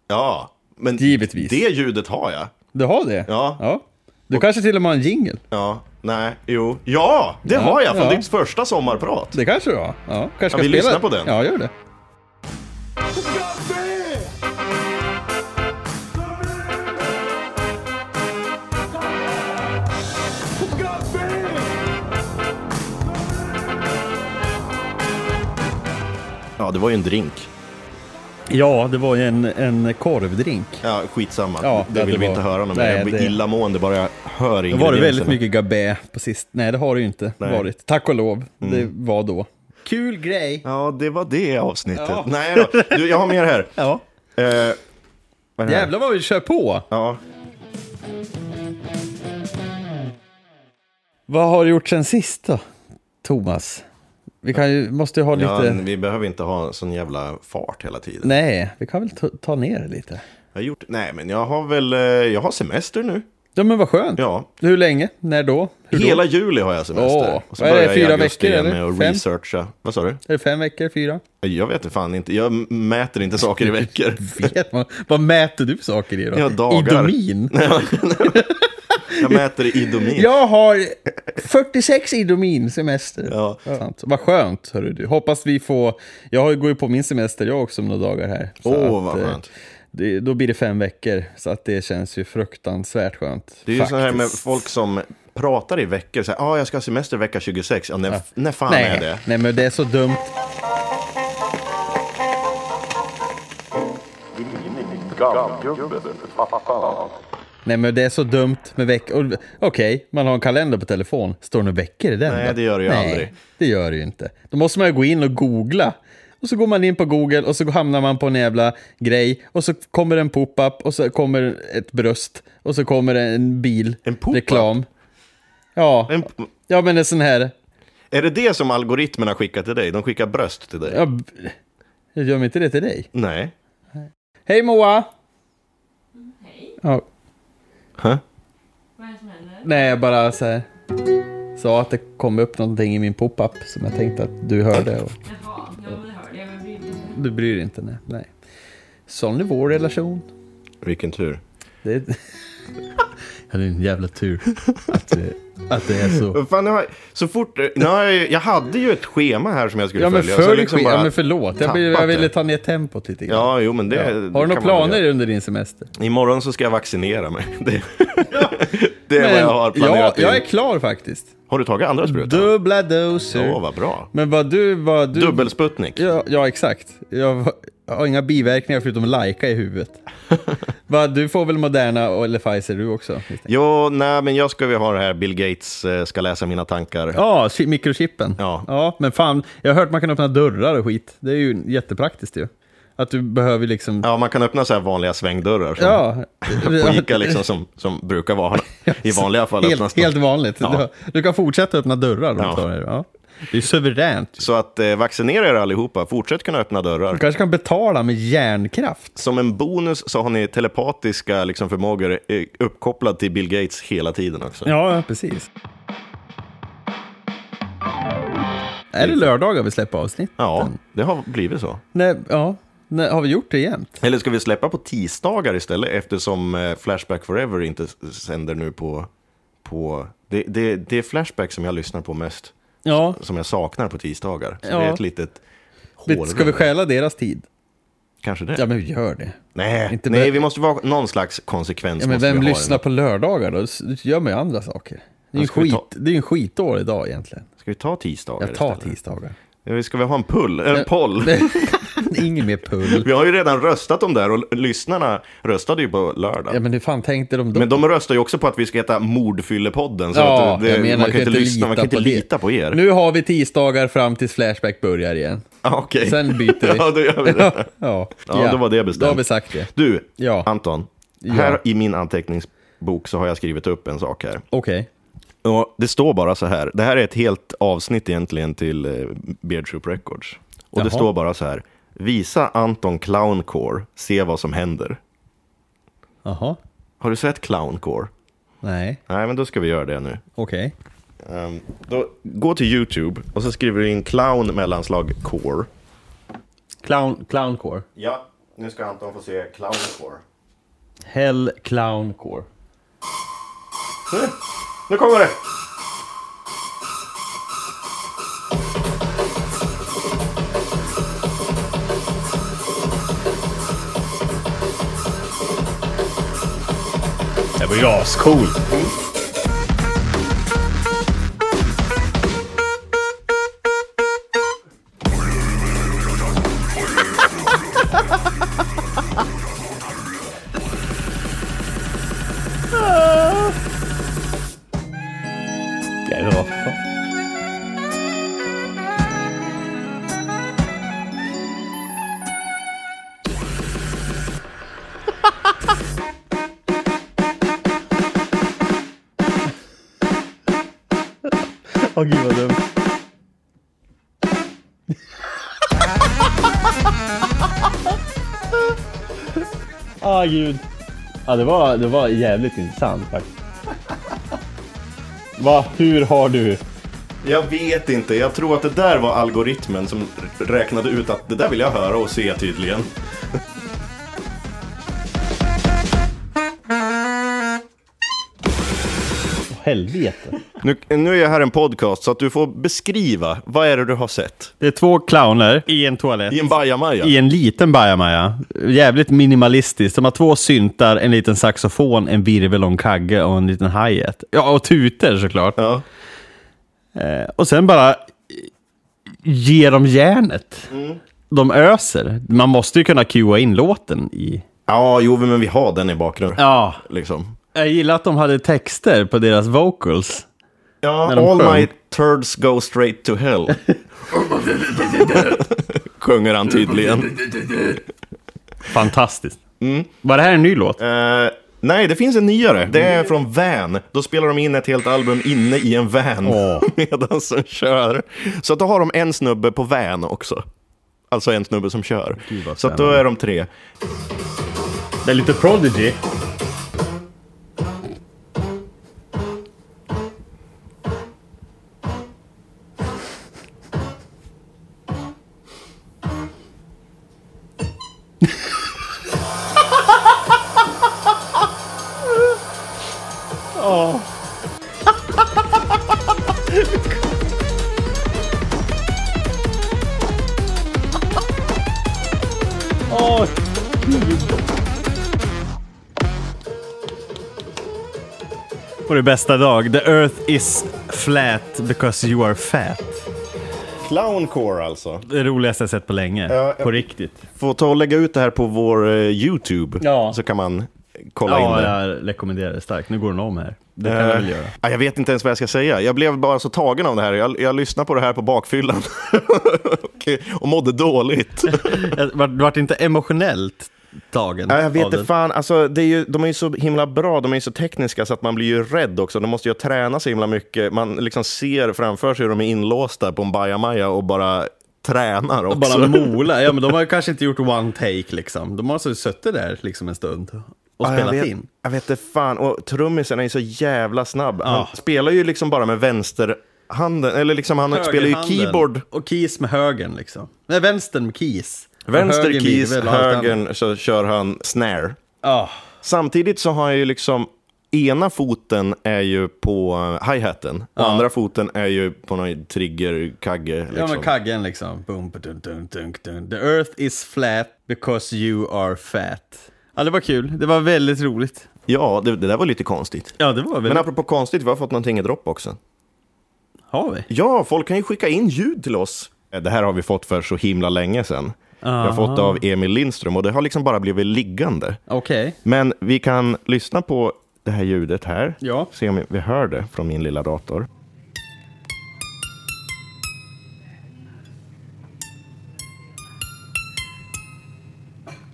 [SPEAKER 1] Ja, men
[SPEAKER 2] Givetvis.
[SPEAKER 1] det ljudet har jag.
[SPEAKER 2] Du har det?
[SPEAKER 1] Ja.
[SPEAKER 2] Du kanske till och med har en jingle?
[SPEAKER 1] Ja, nej, jo. Ja, det har jag från
[SPEAKER 2] ja.
[SPEAKER 1] ditt första sommarprat.
[SPEAKER 2] Det kanske du har? Ja, kanske ska
[SPEAKER 1] vi
[SPEAKER 2] spela-
[SPEAKER 1] lyssnar på den.
[SPEAKER 2] Ja, gör det.
[SPEAKER 1] Ja, det var ju en drink.
[SPEAKER 2] Ja, det var ju en, en korvdrink.
[SPEAKER 1] Ja, skitsamma.
[SPEAKER 2] Ja,
[SPEAKER 1] det
[SPEAKER 2] att
[SPEAKER 1] vill
[SPEAKER 2] det
[SPEAKER 1] vi
[SPEAKER 2] var-
[SPEAKER 1] inte höra något
[SPEAKER 2] Nej,
[SPEAKER 1] mer. Jag blir
[SPEAKER 2] det-
[SPEAKER 1] illamående bara jag hör
[SPEAKER 2] Då var det
[SPEAKER 1] ingredienserna.
[SPEAKER 2] väldigt mycket gabé på sist. Nej, det har det ju inte
[SPEAKER 1] Nej. Mm.
[SPEAKER 2] varit. Tack och lov. Det var då. Kul grej.
[SPEAKER 1] Ja, det var det avsnittet.
[SPEAKER 2] Ja.
[SPEAKER 1] Nej då. Du, jag har mer här.
[SPEAKER 2] Ja.
[SPEAKER 1] Eh, vad är det här?
[SPEAKER 2] Jävlar vad vi kör på.
[SPEAKER 1] Ja.
[SPEAKER 2] Vad har du gjort sen sist då, Thomas? Vi kan ju, måste ju ha lite...
[SPEAKER 1] ja, vi behöver inte ha sån jävla fart hela tiden.
[SPEAKER 2] Nej, vi kan väl ta, ta ner det lite.
[SPEAKER 1] Jag har gjort... Nej, men jag har väl... eh, Jag har semester nu.
[SPEAKER 2] Ja, men vad skönt.
[SPEAKER 1] Ja.
[SPEAKER 2] Hur länge? När då? Hur då?
[SPEAKER 1] Hela juli har jag semester.
[SPEAKER 2] Åh,
[SPEAKER 1] och så
[SPEAKER 2] vad är
[SPEAKER 1] börjar
[SPEAKER 2] det,
[SPEAKER 1] jag i
[SPEAKER 2] fyra
[SPEAKER 1] augusti
[SPEAKER 2] veckor,
[SPEAKER 1] igen
[SPEAKER 2] eller?
[SPEAKER 1] med att
[SPEAKER 2] Fem?
[SPEAKER 1] researcha. Vad sa du?
[SPEAKER 2] Är det fem veckor, fyra?
[SPEAKER 1] Jag vet inte fan inte. Jag mäter inte saker i veckor.
[SPEAKER 2] Vet man. Vad mäter du saker i då?
[SPEAKER 1] Ja, dagar.
[SPEAKER 2] Idomin?
[SPEAKER 1] Jag mäter i idomin.
[SPEAKER 2] Jag har 46 Idomin semester.
[SPEAKER 1] Ja.
[SPEAKER 2] Sant. Vad skönt, hörru du. Hoppas vi får... Jag har- går ju på min semester jag också om några dagar här. Så
[SPEAKER 1] Åh, vad
[SPEAKER 2] eh,
[SPEAKER 1] skönt.
[SPEAKER 2] Det, då blir det fem veckor, så att det känns ju fruktansvärt skönt.
[SPEAKER 1] Det är ju så här med
[SPEAKER 2] faktiskt.
[SPEAKER 1] folk som pratar i veckor. Så här, ah, jag ska ha semester vecka 26. Ja, när, när fan
[SPEAKER 2] Nej,
[SPEAKER 1] är det?
[SPEAKER 2] nej, men det är så dumt. Nej, men det är så dumt med veckor. Och- Okej, man har en kalender på telefon. Står det några veckor i den?
[SPEAKER 1] Nej,
[SPEAKER 2] då?
[SPEAKER 1] det gör det ju
[SPEAKER 2] Nej,
[SPEAKER 1] aldrig.
[SPEAKER 2] det gör det ju inte. Då måste man ju gå in och googla. Och så går man in på Google och så hamnar man på en jävla grej. Och så kommer en pop-up och så kommer ett bröst. Och så kommer en bil.
[SPEAKER 1] En pop-up?
[SPEAKER 2] Reklam. Ja.
[SPEAKER 1] En,
[SPEAKER 2] ja, men en sån här
[SPEAKER 1] är det det som algoritmerna skickar till dig? De skickar bröst till dig?
[SPEAKER 2] Ja, b- jag gör mig inte det till dig.
[SPEAKER 1] Nej.
[SPEAKER 2] Hej Moa!
[SPEAKER 8] Hej,
[SPEAKER 2] Ja,
[SPEAKER 1] Huh?
[SPEAKER 8] vad är det som händer?
[SPEAKER 2] nej, jag bara så här, sa att det kom upp någonting i min pop-up som jag tänkte att du hörde. Och
[SPEAKER 8] Jaha, ja men det hörde jag, men jag bryr mig inte.
[SPEAKER 2] du bryr dig inte, nej. nej. Sån är vår relation.
[SPEAKER 1] Vilken tur.
[SPEAKER 2] Det är... ja, det är en jävla tur att, det- att det är så.
[SPEAKER 1] Vad Fan, nu har jag, så fort, nu har jag, ju- jag hade ju ett schema här som jag skulle
[SPEAKER 2] Ja men,
[SPEAKER 1] följa. så
[SPEAKER 2] för,
[SPEAKER 1] liksom
[SPEAKER 2] skit-
[SPEAKER 1] bara
[SPEAKER 2] ja, men förlåt, jag, blir, jag
[SPEAKER 1] tappat
[SPEAKER 2] ville
[SPEAKER 1] det.
[SPEAKER 2] ta ner tempot lite grann.
[SPEAKER 1] Ja, jo men det... det
[SPEAKER 2] Har du
[SPEAKER 1] kan
[SPEAKER 2] några
[SPEAKER 1] man väl
[SPEAKER 2] planer
[SPEAKER 1] göra.
[SPEAKER 2] under din semester?
[SPEAKER 1] Imorgon så ska jag vaccinera mig. Det, det är vad jag har planerat
[SPEAKER 2] ja, jag är
[SPEAKER 1] in.
[SPEAKER 2] klar faktiskt.
[SPEAKER 1] Har du tagit andra sprutan?
[SPEAKER 2] Dubbla doser.
[SPEAKER 1] Åh, vad bra.
[SPEAKER 2] Men vad du... Vad du
[SPEAKER 1] Dubbelsputnik.
[SPEAKER 2] Ja, ja exakt. Jag, var- jag har inga biverkningar förutom lajka i huvudet. Va, du får väl Moderna och- eller Pfizer du också? misstänker jag.
[SPEAKER 1] Jo, nej men jag ska ju ha det här Bill Gates eh, ska läsa mina tankar.
[SPEAKER 2] Ja, chi- mikrochippen.
[SPEAKER 1] Ja.
[SPEAKER 2] men fan, jag har hört man kan öppna dörrar och skit. Det är ju jättepraktiskt ju. Att du behöver liksom...
[SPEAKER 1] Ja, man kan öppna så här vanliga svängdörrar som på Ica liksom, som, som brukar vara i vanliga fall. öppnas
[SPEAKER 2] helt,
[SPEAKER 1] de.
[SPEAKER 2] helt vanligt.
[SPEAKER 1] Ja.
[SPEAKER 2] Du, du kan fortsätta öppna dörrar.
[SPEAKER 1] Ja.
[SPEAKER 2] Ja. Ja. Det är suveränt.
[SPEAKER 1] Så att eh, vaccinera er allihopa, fortsätt kunna öppna dörrar.
[SPEAKER 2] Du kanske kan betala med järnkraft.
[SPEAKER 1] Som en bonus så har ni telepatiska liksom, förmågor eh, uppkopplad till Bill Gates hela tiden också.
[SPEAKER 2] Ja, precis. Är det lördagar vi släpper avsnitt?
[SPEAKER 1] Ja, det har blivit så.
[SPEAKER 2] Nej, ja. Nej, har vi gjort det jämt?
[SPEAKER 1] Eller ska vi släppa på tisdagar istället eftersom eh, Flashback Forever inte s- sänder nu på... på det, det, det är Flashback som jag lyssnar på mest,
[SPEAKER 2] Ja.
[SPEAKER 1] som jag saknar på tisdagar. Så
[SPEAKER 2] Ja.
[SPEAKER 1] det är ett litet hål.
[SPEAKER 2] Ska vi stjäla deras tid?
[SPEAKER 1] Kanske det.
[SPEAKER 2] Ja, men vi gör det.
[SPEAKER 1] nej,
[SPEAKER 2] inte
[SPEAKER 1] nej,
[SPEAKER 2] bör-
[SPEAKER 1] vi måste vara någon slags konsekvens.
[SPEAKER 2] Ja, men
[SPEAKER 1] måste vi
[SPEAKER 2] vem
[SPEAKER 1] ha i
[SPEAKER 2] lyssnar
[SPEAKER 1] den.
[SPEAKER 2] på lördagar då? S- gör man ju andra saker. Det är ju
[SPEAKER 1] Ja, ska vi
[SPEAKER 2] skit,
[SPEAKER 1] ta-
[SPEAKER 2] det är ju en skitår idag egentligen.
[SPEAKER 1] Ska vi ta tisdagar
[SPEAKER 2] Jag tar
[SPEAKER 1] istället?
[SPEAKER 2] tisdagar.
[SPEAKER 1] Ja, vi Ska vi ha en pull? En poll?
[SPEAKER 2] Ingen mer pull.
[SPEAKER 1] Vi har ju redan röstat om det här och lyssnarna röstade ju på lördag.
[SPEAKER 2] Ja, men hur fan tänkte de då?
[SPEAKER 1] Men de röstar ju också på att vi ska heta Mordfyllepodden. Så
[SPEAKER 2] ja,
[SPEAKER 1] att det,
[SPEAKER 2] jag menar,
[SPEAKER 1] man kan
[SPEAKER 2] du
[SPEAKER 1] inte lyssna, man kan inte
[SPEAKER 2] det.
[SPEAKER 1] lita på er.
[SPEAKER 2] Nu har vi tisdagar fram tills Flashback börjar igen.
[SPEAKER 1] ah, okej.
[SPEAKER 2] Sen byter vi.
[SPEAKER 1] ja, då gör vi
[SPEAKER 2] ja,
[SPEAKER 1] det.
[SPEAKER 2] ja.
[SPEAKER 1] Ja, då var det bestämt.
[SPEAKER 2] Då har vi sagt det.
[SPEAKER 1] Du,
[SPEAKER 2] Ja.
[SPEAKER 1] Anton. Här i min anteckningsbok så har jag skrivit upp en sak här.
[SPEAKER 2] Okej.
[SPEAKER 1] Och det står bara så här. Det här är ett helt avsnitt egentligen till eh, Beard Troop Records. Och det
[SPEAKER 2] Jaha.
[SPEAKER 1] står bara så här. Visa Anton Clowncore, se vad som händer.
[SPEAKER 2] Jaha.
[SPEAKER 1] Har du sett Clowncore?
[SPEAKER 2] Nej.
[SPEAKER 1] Nej, men då ska vi göra det nu.
[SPEAKER 2] Okej.
[SPEAKER 1] Ehm, då, gå till YouTube och så skriver du in clown mellanslag core.
[SPEAKER 2] Clown, clowncore.
[SPEAKER 1] Ja, nu ska Anton få se clowncore.
[SPEAKER 2] Hell clowncore.
[SPEAKER 1] Mm. Nu kommer det!
[SPEAKER 5] Det var ju ascool.
[SPEAKER 2] Åh gud vad dumt. Ah gud. Ja det var, det var jävligt intressant faktiskt. Va, hur har du?
[SPEAKER 1] Jag vet inte, jag tror att det där var algoritmen som räknade ut att det där vill jag höra och se tydligen.
[SPEAKER 2] Åh, helvete.
[SPEAKER 1] Nu, nu är jag här en podcast så att du får beskriva, vad är det du har sett?
[SPEAKER 2] Det är två clowner i en toalett.
[SPEAKER 1] I en bajamaja?
[SPEAKER 2] I en liten bajamaja. Jävligt minimalistiskt. De har två syntar, en liten saxofon, en virvel och en kagge och en liten hi-hat. Ja, och tutor såklart.
[SPEAKER 1] Ja.
[SPEAKER 2] Eh, Och sen bara ger de järnet.
[SPEAKER 1] Mm.
[SPEAKER 2] De öser. Man måste ju kunna cuea in låten i...
[SPEAKER 1] ja, jo men vi har den i bakgrunden.
[SPEAKER 2] Ja,
[SPEAKER 1] Liksom.
[SPEAKER 2] jag gillar att de hade texter på deras vocals. När
[SPEAKER 1] Ja,
[SPEAKER 2] de
[SPEAKER 1] all
[SPEAKER 2] sjöng.
[SPEAKER 1] my turds go straight to hell. Sjunger han tydligen.
[SPEAKER 2] Fantastiskt.
[SPEAKER 1] Mm.
[SPEAKER 2] Var det här en ny låt?
[SPEAKER 1] Eh, nej, det finns en nyare. Det är från Van. Då spelar de in ett helt album inne i en van. Medan de kör. Så att då har de en snubbe på Van också. Alltså en snubbe som kör.
[SPEAKER 2] vad
[SPEAKER 1] Så att då är de tre.
[SPEAKER 2] Det är lite Prodigy. På det bästa dag. The earth is flat because you are fat.
[SPEAKER 1] Clowncore alltså.
[SPEAKER 2] Det roligaste jag sett på länge.
[SPEAKER 1] Ja, ja.
[SPEAKER 2] På riktigt.
[SPEAKER 1] Får ta och lägga ut det här på vår eh, YouTube.
[SPEAKER 2] Ja.
[SPEAKER 1] Så kan man kolla in
[SPEAKER 2] Ja,
[SPEAKER 1] det.
[SPEAKER 2] jag rekommenderar det starkt. Nu går den om här. Det kan jag väl göra.
[SPEAKER 1] Eh, Ja, jag vet inte ens vad jag ska säga. Jag blev bara så tagen av det här. Jag, jag lyssnade på det här på bakfyllan och, och mådde dåligt.
[SPEAKER 2] Jag vart, vart inte emotionellt tagen
[SPEAKER 1] Ja, jag vet
[SPEAKER 2] av
[SPEAKER 1] inte
[SPEAKER 2] den.
[SPEAKER 1] fan, alltså, det är ju, de är ju så himla bra, de är ju så tekniska så att man blir ju rädd också. De måste ju träna så himla mycket. Man liksom ser framför sig hur de är inlåsta på en bajamaja och bara tränar också.
[SPEAKER 2] Bara mola. Ja, men de har ju kanske inte gjort one take liksom. De har alltså suttit där liksom en stund och
[SPEAKER 1] Ja,
[SPEAKER 2] spelat
[SPEAKER 1] jag vet,
[SPEAKER 2] in.
[SPEAKER 1] Jag vet inte fan, och trummisen är ju så jävla snabb. Han
[SPEAKER 2] Ja.
[SPEAKER 1] spelar ju liksom bara med vänsterhanden, eller liksom han spelar ju
[SPEAKER 2] Högerhanden
[SPEAKER 1] keyboard.
[SPEAKER 2] Och keys med högern liksom. Nej, vänstern med keys. Och
[SPEAKER 1] Vänster
[SPEAKER 2] högern
[SPEAKER 1] keys,
[SPEAKER 2] virvel och allt annat. Ah.
[SPEAKER 1] högern så kör han snare.
[SPEAKER 2] Ja.
[SPEAKER 1] Samtidigt så har jag ju liksom Ena foten är ju på eh, hi-haten och andra foten är ju på någon triggerkagge. Liksom.
[SPEAKER 2] Ja, men kaggen liksom. Boom, dun, dun, dun, dun. The earth is flat because you are fat. Ja, det var kul. Det var väldigt roligt.
[SPEAKER 1] Ja, det, det där var lite konstigt.
[SPEAKER 2] Ja, det var
[SPEAKER 1] Men
[SPEAKER 2] väldigt...
[SPEAKER 1] apropå konstigt, vi har fått någonting i Dropboxen.
[SPEAKER 2] Har vi?
[SPEAKER 1] Ja, folk kan ju skicka in ljud till oss. Eh, Det här har vi fått för så himla länge sedan. Jag har fått det av Emil Lindström och det har liksom bara blivit liggande.
[SPEAKER 2] Okej.
[SPEAKER 1] Men vi kan lyssna på det här ljudet här.
[SPEAKER 2] Ja.
[SPEAKER 1] Se om vi hör det från min lilla dator.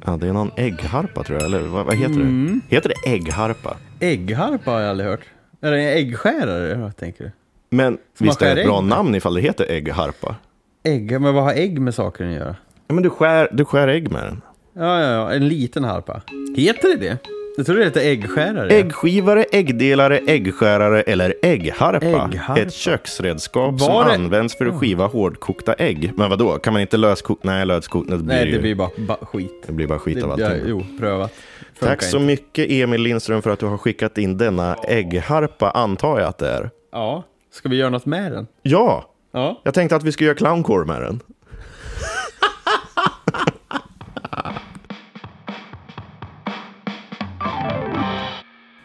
[SPEAKER 1] Ja, det är någon äggharpa tror jag, eller vad, vad heter
[SPEAKER 2] Mm.
[SPEAKER 1] det? Heter det äggharpa?
[SPEAKER 2] Äggharpa har jag aldrig hört. Är det en äggskärare? Vad tänker du?
[SPEAKER 1] Men
[SPEAKER 2] man
[SPEAKER 1] visst är det
[SPEAKER 2] skär
[SPEAKER 1] ett bra
[SPEAKER 2] ägg?
[SPEAKER 1] namn ifall det heter äggharpa?
[SPEAKER 2] Ägg? Men vad har ägg med saker att göra?
[SPEAKER 1] Ja, men du skär, du skär ägg med den.
[SPEAKER 2] Ja, ja, ja. En liten harpa. Heter det det? Jag tror det heter äggskärare.
[SPEAKER 1] Äggskivare, äggdelare, äggskärare eller äggharpa.
[SPEAKER 2] Äggharpa.
[SPEAKER 1] Ett köksredskap
[SPEAKER 2] Var
[SPEAKER 1] som
[SPEAKER 2] det-
[SPEAKER 1] används för att skiva hårdkokta ägg. Men vadå, kan man inte löskoka? Nej, löskoka, det blir
[SPEAKER 2] Nej,
[SPEAKER 1] ju...
[SPEAKER 2] det blir bara ba- skit.
[SPEAKER 1] det blir bara skit
[SPEAKER 2] Det,
[SPEAKER 1] av
[SPEAKER 2] ja,
[SPEAKER 1] allting.
[SPEAKER 2] jo, prövat. Funkar
[SPEAKER 1] Tack så
[SPEAKER 2] inte.
[SPEAKER 1] mycket Emil Lindström för att du har skickat in denna äggharpa, antar jag att det är.
[SPEAKER 2] Ja. Ska vi göra något med den?
[SPEAKER 1] Ja,
[SPEAKER 2] Ja.
[SPEAKER 1] jag tänkte att vi skulle göra clowncore med den.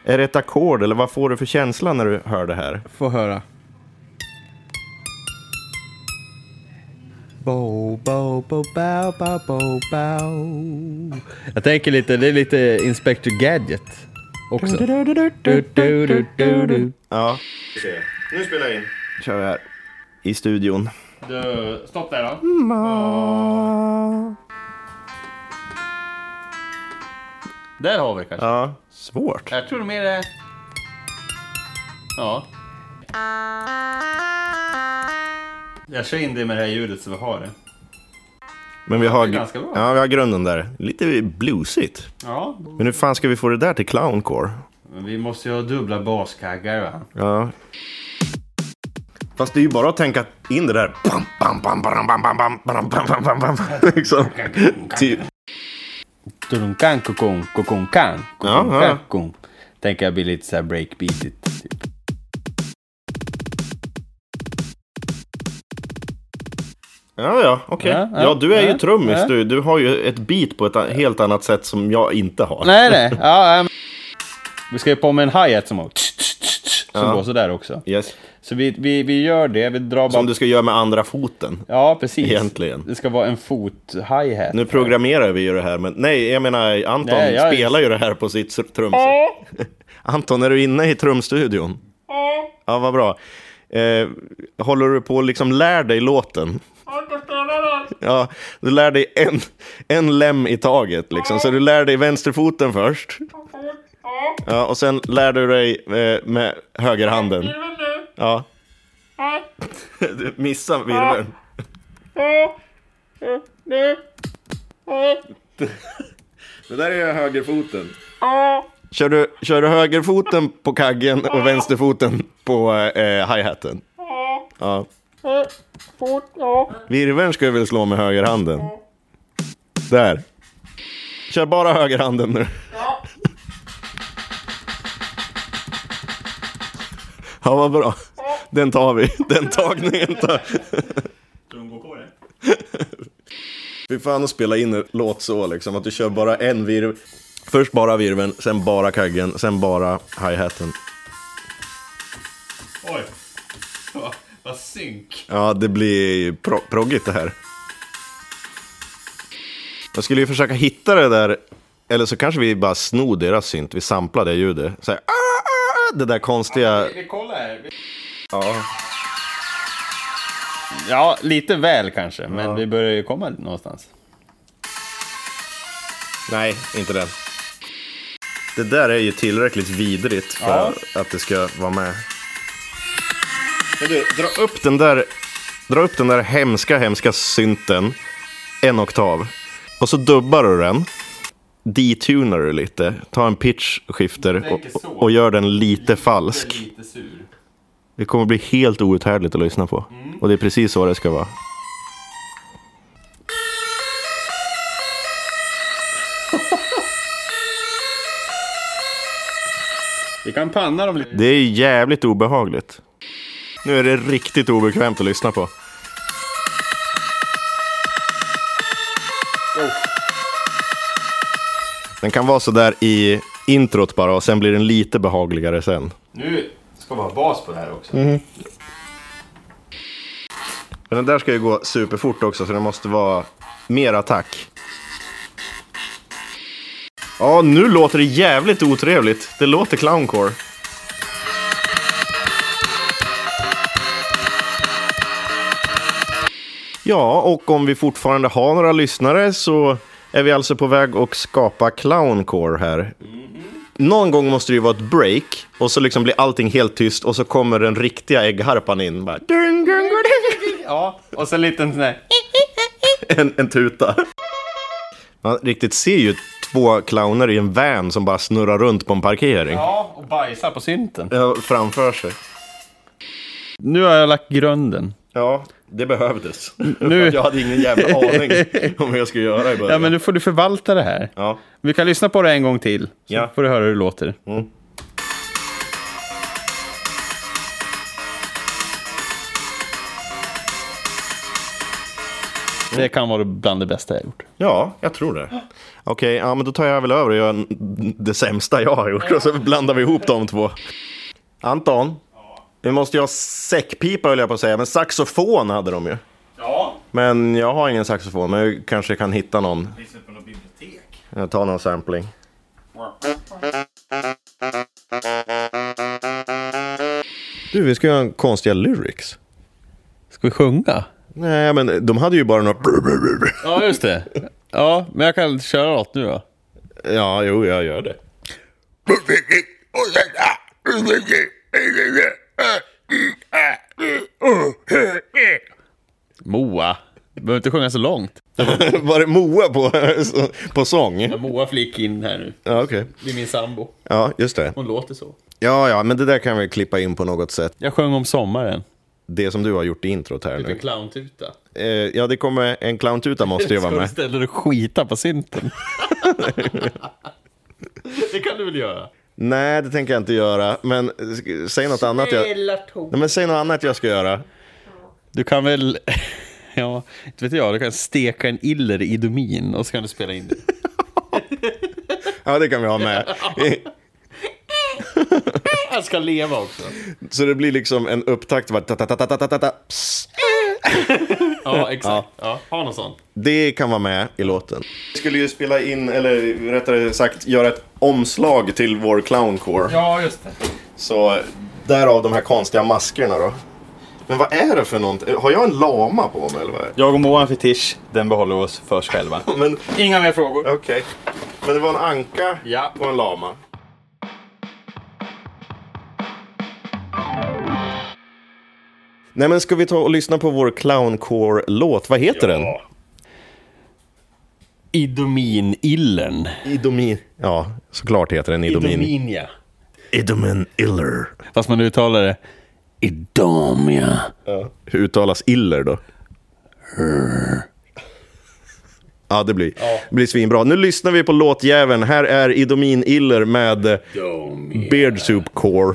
[SPEAKER 1] Är det ett ackord eller vad får du för känsla när du hör det här?
[SPEAKER 2] Få höra. Bow, bow, bow, bow, bow, bow, bow. Jag tänker lite, det är lite Inspector Gadget också.
[SPEAKER 1] Ja. Nu spelar jag in. kör vi här. I studion.
[SPEAKER 2] Stopp där då. Där har vi det kanske.
[SPEAKER 1] Ja. Svårt.
[SPEAKER 2] Jag tror mer det... Ja. Jag kör in det med det här ljudet så vi har det.
[SPEAKER 1] Men vi har,
[SPEAKER 2] Det är ganska bra.
[SPEAKER 1] ja, vi har grunden där. Lite bluesigt.
[SPEAKER 2] Ja,
[SPEAKER 1] Men hur fan ska vi få det där till clowncore?
[SPEAKER 2] men vi måste ju ha dubbla baskaggar va?
[SPEAKER 1] Ja. Fast det är ju bara att tänka in det där. Bam, bam, bam, bam, bam, bam, bam, bam, bam, bam, bam, bam. Liksom. Typ.
[SPEAKER 2] Dunkan, kokon, kokon, kan.
[SPEAKER 1] Ja, ja.
[SPEAKER 2] kokon. Tänker jag blir lite såhär breakbeatigt. Typ.
[SPEAKER 1] Ja, ja, okej.
[SPEAKER 2] Ja,
[SPEAKER 1] Ja,
[SPEAKER 2] ja,
[SPEAKER 1] du är ju
[SPEAKER 2] ja,
[SPEAKER 1] trummis
[SPEAKER 2] ja.
[SPEAKER 1] du. Du har ju ett beat på ett a- helt annat sätt som jag inte har.
[SPEAKER 2] Nej, nej. Ja, ehm. Vi ska ju på med en hi-hat som, har- som går sådär också.
[SPEAKER 1] Yes.
[SPEAKER 2] Så vi, vi, vi gör det, vi drar bara...
[SPEAKER 1] Som du ska göra med andra foten.
[SPEAKER 2] Ja, precis.
[SPEAKER 1] Egentligen.
[SPEAKER 2] Det ska vara en fot-hi-hat.
[SPEAKER 1] Nu programmerar vi ju det här, men nej, jag menar Anton
[SPEAKER 2] Nej, jag-
[SPEAKER 1] spelar ju det här på sitt s- trums. Anton, är du inne i trumstudion? ja, vad bra. Eh, håller du på att liksom lär dig låten? Ja, du lär dig en, en lem i taget liksom. Så du lär dig vänsterfoten först. Ja, och sen lär du dig eh, med högerhanden. Ja. Du missar virveln. Det där är högerfoten. Kör du, kör du högerfoten på kaggen och vänsterfoten på eh, hi-haten? Ja. Virveln ska jag väl slå med högerhanden? Där. Kör bara högerhanden nu. Ja, vad bra. Den tar vi. Den tagningen tar Fy fan att spela in en låt så liksom, att du kör bara en virv. Först bara virven, sen bara kaggen, sen bara hi-haten.
[SPEAKER 2] Oj. Vad synk.
[SPEAKER 1] Ja, det blir pro- proggigt det här. Jag skulle ju försöka hitta det där, eller så kanske vi bara snor deras synt, vi samplar det ljudet. Så här, "Ah, ah, ah", det där konstiga...
[SPEAKER 2] Vi kollar här.
[SPEAKER 1] Ja.
[SPEAKER 2] Ja, lite väl kanske, men vi börjar ju komma någonstans.
[SPEAKER 1] Nej, inte den. Det där är ju tillräckligt vidrigt för att det ska vara med. Men du, dra upp den där, dra upp den där hemska, hemska synten en oktav. Och så dubbar du den. Detunar du lite. Ta en pitch skifter
[SPEAKER 2] tänker
[SPEAKER 1] och,
[SPEAKER 2] så.
[SPEAKER 1] och gör den lite falsk.
[SPEAKER 2] Lite sur.
[SPEAKER 1] Det kommer bli helt outhärdligt att lyssna på. Och det är precis så det ska vara.
[SPEAKER 2] Vi kan panna dem lite.
[SPEAKER 1] Det är jävligt obehagligt. Nu är det riktigt obekvämt att lyssna på. Den kan vara sådär i introt bara och sen blir den lite behagligare sen.
[SPEAKER 2] Nu ska vi ha bas på det här också.
[SPEAKER 1] Men den där ska ju gå superfort också så det måste vara mer attack. Ja, nu låter det jävligt otrevligt. Det låter clowncore. Ja, och om vi fortfarande har några lyssnare så är vi alltså på väg att skapa clowncore här. Någon gång måste det ju vara ett break och så liksom blir allting helt tyst och så kommer den riktiga äggharpan in. Bara, dung, dung, dung.
[SPEAKER 2] Ja, och så en liten sån här.
[SPEAKER 1] en, en tuta. Man riktigt ser ju två clowner i en van som bara snurrar runt på en parkering.
[SPEAKER 2] Ja, och bajsa på synten.
[SPEAKER 1] Ja, Framför sig.
[SPEAKER 2] Nu har jag lagt grunden.
[SPEAKER 1] Ja, det behövdes.
[SPEAKER 2] Nu-
[SPEAKER 1] Jag hade ingen jävla aning om hur jag skulle göra i början.
[SPEAKER 2] Ja, men nu får du förvalta det här.
[SPEAKER 1] ja.
[SPEAKER 2] Vi kan lyssna på det en gång till, så
[SPEAKER 1] Ja.
[SPEAKER 2] får du höra hur det låter. Det kan vara bland det bästa jag gjort.
[SPEAKER 1] ja, jag tror det. Okej, ja, men då tar jag väl över och gör n- det sämsta jag har gjort och så blandar vi ihop de två. Anton, vi måste ju ha säckpipa höll jag på att säga, men saxofon hade de ju.
[SPEAKER 2] Ja,
[SPEAKER 1] Men jag har ingen saxofon, men jag kanske kan hitta någon
[SPEAKER 2] lyssna på något bibliotek.
[SPEAKER 1] Jag tar någon sampling. Du, vi ska göra en konstiga lyrics.
[SPEAKER 2] Ska vi sjunga?
[SPEAKER 1] Nej, men de hade ju bara några...
[SPEAKER 2] Ja, just det. Ja, men jag kan köra något nu då.
[SPEAKER 1] Ja, jo, jag gör det.
[SPEAKER 2] behöver inte sjunga så långt.
[SPEAKER 1] Var det Moa på, på sång?
[SPEAKER 2] Moa flik in här nu.
[SPEAKER 1] Ja, okej.
[SPEAKER 2] Det är min sambo.
[SPEAKER 1] Ja, just det.
[SPEAKER 2] Hon låter så.
[SPEAKER 1] Ja, ja, men det där kan vi klippa in på något sätt.
[SPEAKER 2] Jag sjöng om sommaren.
[SPEAKER 1] Det som du har gjort i introt här nu.
[SPEAKER 2] Lite clowntuta.
[SPEAKER 1] Eh, ja, det kommer en clowntuta måste ju
[SPEAKER 2] Ska
[SPEAKER 1] vara
[SPEAKER 2] du
[SPEAKER 1] med.
[SPEAKER 2] ställa dig och skita på synten? det kan du väl göra?
[SPEAKER 1] Nej, det tänker jag inte göra. Men eh, sk- säg något annat jag... Nej, men säg något annat jag ska göra.
[SPEAKER 2] Du kan väl... Ja, inte vet jag. Du kan steka en iller i domin och så kan du spela in det.
[SPEAKER 1] Ja, det kan vi ha med.
[SPEAKER 2] Jag ska leva också.
[SPEAKER 1] Så det blir liksom en upptakt. Bara, ta, ta, ta, ta, ta, ta, ta, ta, pss.
[SPEAKER 2] Ja, exakt. Ja. ha någon sån.
[SPEAKER 1] det kan vara med i låten. Vi skulle ju spela in, eller rättare sagt göra ett omslag till vår clownkår.
[SPEAKER 2] Ja, just det.
[SPEAKER 1] Så därav de här konstiga maskerna då. Men vad är det för någonting? Har jag en lama på mig eller vad är det?
[SPEAKER 9] Jag och Moa har en fetisch, den behåller oss för oss själva.
[SPEAKER 1] Men
[SPEAKER 2] Inga mer frågor.
[SPEAKER 1] okej. Men det var en anka
[SPEAKER 2] Ja.
[SPEAKER 1] och en lama. Nej men ska vi ta och lyssna på vår clowncore-låt? Vad heter den?
[SPEAKER 2] Idomin-illen.
[SPEAKER 1] Idomin. Ja, såklart heter den Idomin.
[SPEAKER 2] ja.
[SPEAKER 1] Idomin Iller.
[SPEAKER 2] Fast man uttalar det Idomia.
[SPEAKER 1] Hur uttalas iller då? Ja, det blir, det blir svinbra. Nu lyssnar vi på låtjäveln. Här är Idomin Iller med eh, Beard Soup Core.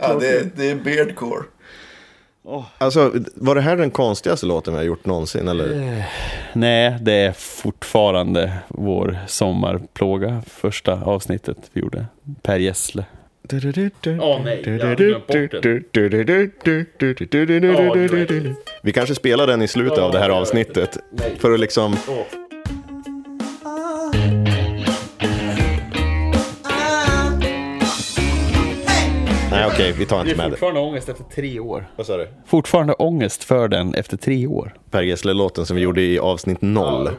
[SPEAKER 1] Ja, det, är Beardcore. Alltså, var det här den konstigaste låten vi har gjort någonsin? Eller?
[SPEAKER 2] Nej, det är fortfarande vår sommarplåga. Första avsnittet vi gjorde. Per Gessle. Åh nej, jag hade glömt bort
[SPEAKER 1] Vi kanske spelar den i slutet av det här avsnittet. För att liksom... Nej, okej, vi tar inte med det.
[SPEAKER 2] ångest efter tre år.
[SPEAKER 1] Vad sa du?
[SPEAKER 2] Fortfarande ångest för den efter tre år.
[SPEAKER 1] Per Gessle-låten som vi gjorde i avsnitt noll.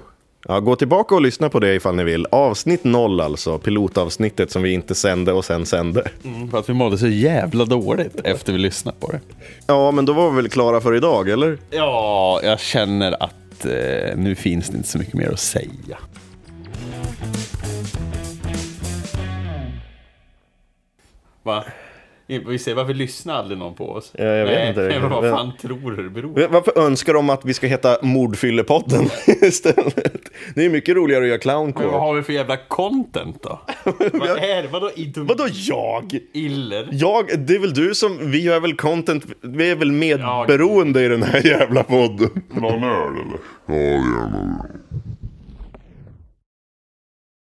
[SPEAKER 1] Ja, gå tillbaka och lyssna på det ifall ni vill. Avsnitt noll alltså, pilotavsnittet som vi inte sände och sen sände.
[SPEAKER 2] Mm, För att vi mådde så jävla dåligt efter vi lyssnade på det.
[SPEAKER 1] Ja, men då var vi väl klara för idag, eller?
[SPEAKER 2] Ja, jag känner att eh, nu finns det inte så mycket mer att säga. Va? Vi ser varför lyssnar aldrig någon på oss?
[SPEAKER 1] Ja, jag vet Nej, inte riktigt. vad fan
[SPEAKER 2] tror du det beror
[SPEAKER 1] Varför önskar de att vi ska heta Mordfyllepodden istället? Det är mycket roligare att göra
[SPEAKER 2] Men vad
[SPEAKER 1] clowncore.
[SPEAKER 2] har vi för jävla content då? vad är det? Vadå idom?
[SPEAKER 1] Vadå jag?
[SPEAKER 2] Iller?
[SPEAKER 1] Jag, det är väl du som, vi gör väl content, vi är väl medberoende i den här jävla podden.
[SPEAKER 5] Vill du ha en öl eller? Ja, gärna.